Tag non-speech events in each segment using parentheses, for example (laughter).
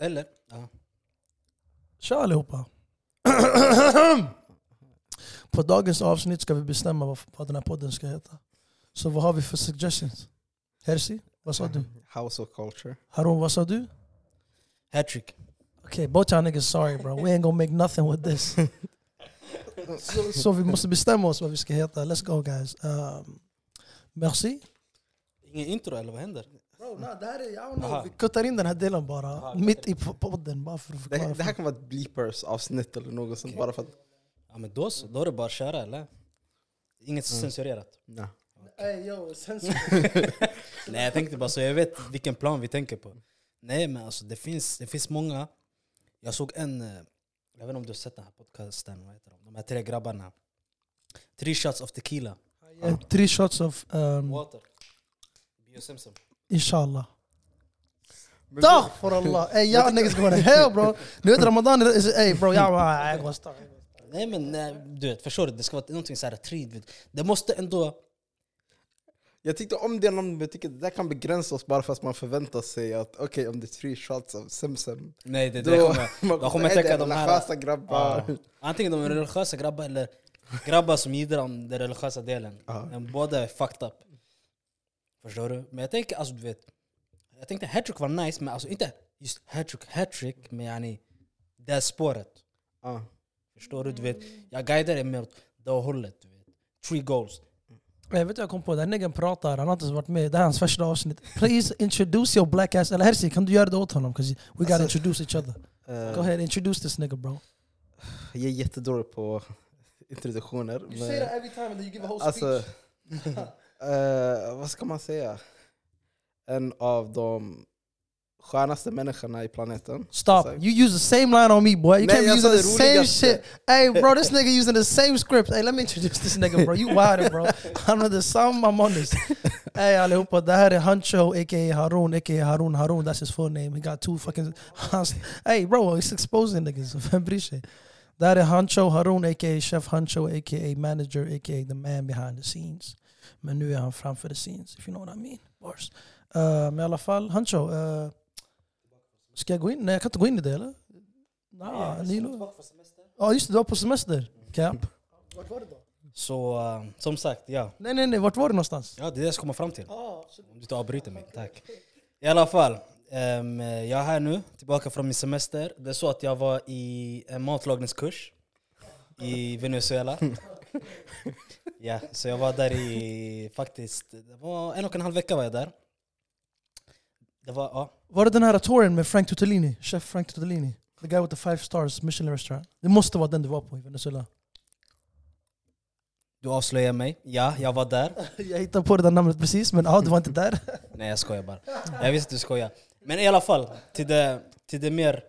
Eller? Ja. Tja allihopa! På dagens avsnitt ska vi bestämma vad, vad den här podden ska heta. Så vad har vi för suggestions? Hersi, vad sa du? Um, House of culture. Harun, vad sa du? Hattrick. Okay, both y'all niggas sorry bro. We ain't gonna make nothing with (laughs) this. Så så vi måste bestämma oss vad vi ska heta. Let's go guys. Um, merci. Ingen intro eller vad händer? Bro, nah, det här är, I don't Aha. know. Vi kuttar in den här delen bara. Aha, okej. Mitt i po- podden bara för att Det, förklara. här- det här kan vara ett bleepers avsnitt eller något sånt bara för att... Ja men då så, då är det bara att köra eller? Inget så censurerat. Nej. Ey, yo, sen så- Nej jag tänkte bara så jag vet vilken plan vi tänker på. Nej men alltså det finns, det finns många. Jag såg en, eh, jag vet inte om du har sett den här podcasten, vad heter de? De här tre grabbarna. Three shots of tequila. Eh, Three shots of um, Water. Bio Simpson. inshallah. Men Dag för Allah! (laughs) Ey, jag niggas going to hell bro! Du vet Ramadan, is- ey bro, jag bara... I gonna start. Nej men eh, du vet, förstår du? Det ska vara någonting såhär trid. Det måste ändå... Jag tyckte om det namnet men jag tycker det där kan begränsa oss bara för att man förväntar sig att okej om det är three shots av Simsim Nej det, det (laughs) (laughs) kommer... Jag kommer tänka de här- religiösa grabbar. Ja. Antingen de är religiösa grabbar eller grabbar som jiddrar om den religiösa delen. (laughs) Ja. Men båda är يعني fucked up. Förstår du? Men jag tänker alltså du vet. Jag tänkte hattrick var nice men alltså inte just hattrick, hattrick يعني men yani det här spåret. Ja. Förstår du? Du vet, jag guidar er mer åt det hållet. Du vet. Three goals. Jag vet du, jag kom på, den niggen pratar, han har inte ens varit med, det här är hans första avsnitt. Please introduce your black ass, eller Herzi kan du göra det åt honom? 'Cause we gotta Alltså- introduce each other. Eh, Go ahead, introduce this nigga bro. jag är jättedålig på introduktioner. men- every time and you give a whole (laughs) Alltså, eh, vad ska man säga? En av de skönaste människorna i planeten. Stop, Alltså- you use the same line on me boy, you Nej, can't be jag using sa the det same roligaste. shit. Hey bro, this nigga using the same script. Hey let me introduce this nigga bro, you wider bro. I'm not the same, I'm honest. Hey allihopa, det här är Hancho aka Harun aka Harun Harun, that's his full name. He got two fucking... hans- Hey bro, he's exposing niggas, (laughs) vem bryr sig? Det här är Hancho Harun aka Chef Hancho aka Manager aka the man behind the scenes. Men nu är han framför the scenes, if you know what I mean. Bars. Eh, men i alla fall, Hancho. eh, ska jag gå in? Nej jag kan inte gå in i det eller? Nah, ni nog- Ja just det, du var på semester. (laughs) Camp. Så eh, som sagt, ja. Nej nej nej, vart var du någonstans? Ja, det är det jag ska komma fram till. Om du inte avbryter mig, tack. I alla fall, ehm, jag är här nu, tillbaka från min semester. Det är så att jag var i en matlagningskurs i Venezuela. ja, så jag var där i, faktiskt, det var en och en halv vecka var jag där. Det var, ja. Var det den här touren med Frank Tutolini? Chef Frank Tutolini? The guy with the five stars Michelin restaurant. Det måste vara den du var på i Venezuela. (laughs) Du avslöjar mig. Ja, jag var där. jag hittade på det där namnet precis, men ja, du var inte där. Nej jag skojar bara. Jag visste att du skojar. Men i alla fall, till det, till det mer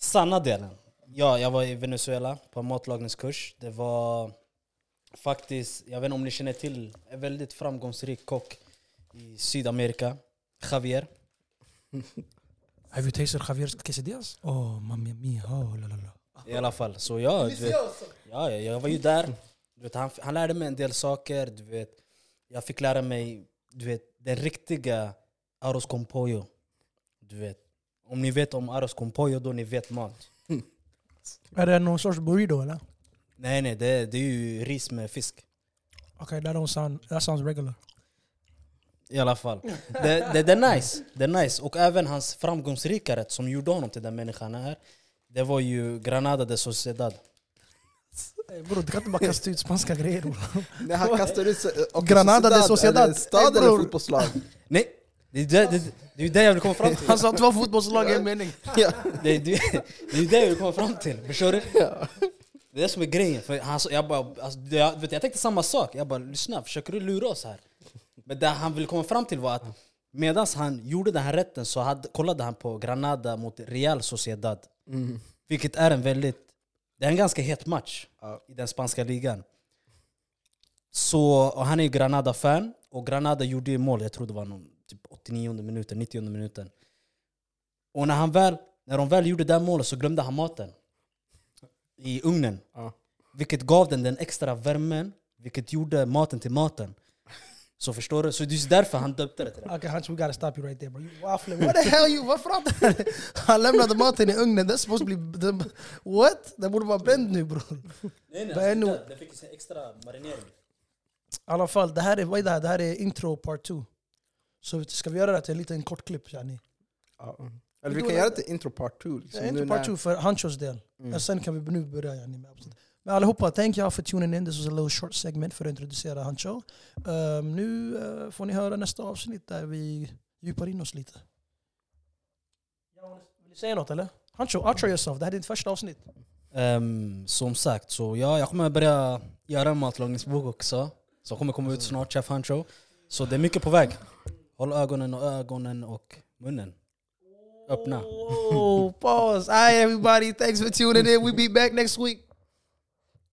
sanna delen. Ja, jag var i Venezuela på en matlagningskurs. Det var faktiskt, jag vet inte om ni känner till, en väldigt framgångsrik kock i Sydamerika. Javier. (laughs) Have you tasted Javier's quesadillas? Oh, mamma mia. Oh, la, la, la. I alla fall. Så ja, du vet, ja, ja, jag var ju där. Du vet, han, han lärde mig en del saker. Du vet. Jag fick lära mig du vet, den riktiga arroz con pollo. Du vet. Om ni vet om arroz con pollo, då ni vet mat. Är det någon sorts burrito eller? Okej, Nej nej, det är, det är ju ris med fisk. okay, that don't sound... That sounds regular. I alla fall. Det, det, det är nice. Det är nice. Och även hans framgångsrika rätt som gjorde honom till den människan han är. Det var ju Granada de Sociedad. Hey, bro, Eh, du kan inte bara kasta ut spanska grejer. Bro. När han kastar ut sig... och Granada de är det Sociedad. en Stad Hey, eller bror. fotbollslag? Nej! Det är det, det, det, är det jag vill komma fram till. Han sa två fotbollslag i en mening. (laughs) ja. Det, är det, det är det jag vill komma fram till. Förstår du? Det är det som är grejen. För han, sa- jag, bara, alltså, det- jag, vet, du, jag tänkte samma sak. Jag bara, lyssna, försöker du lura oss här? Men det han ville komma fram till var att medan han gjorde den här rätten så hade, kollade han på Granada mot Real Sociedad. Vilket är en väldigt... Det är en ganska het match Ja. i den spanska ligan. Så, och han är ju Granada-fan, och Granada gjorde ju mål, jag tror det var någon, typ 89 minuten, 90 minuten. Och när, han väl, när de väl gjorde det där målet så glömde han maten i ugnen. Ja. Vilket gav den den extra värmen, vilket gjorde maten till maten. Så förstår du? Så det är därför han döpte det till det. Okay, Hunch, we gotta stop you right there bro. You waffling. What the hell you? Varför pratar (laughs) Han lämnade maten i ugnen. Det är supposed to be... The, what? Den borde vara bränd nu bror. Nej, alltså, Men nu- nej, titta, det fick extra marinering. I alla fall, det här är, vad är det här? Det här är intro part 2. Så ska vi göra det här till en liten kort klipp? Yani. Ja. Eller vi då kan är göra det- det till intro part 2. Liksom, Ja, nu intro när- part 2 för Hanchos del. Mm. Och sen kan vi nu börja yani, med avsnittet. Men allihopa, thank you all for tuning in. This was a little short segment för att introducera Hancho. Ehm, nu eh, får ni höra nästa avsnitt där vi djupar in oss lite. Vill du säga något eller? Hancho, outro yourself. Det här är ditt första avsnitt. Ehm, som sagt, så ja, jag kommer börja göra en matlagningsbok också. Som kommer komma ut snart, Chef Huncho. Så det är mycket på väg. Håll ögonen och ögonen och munnen öppna. Oh, pause. Hi everybody, thanks for tuning in. We'll be back next week.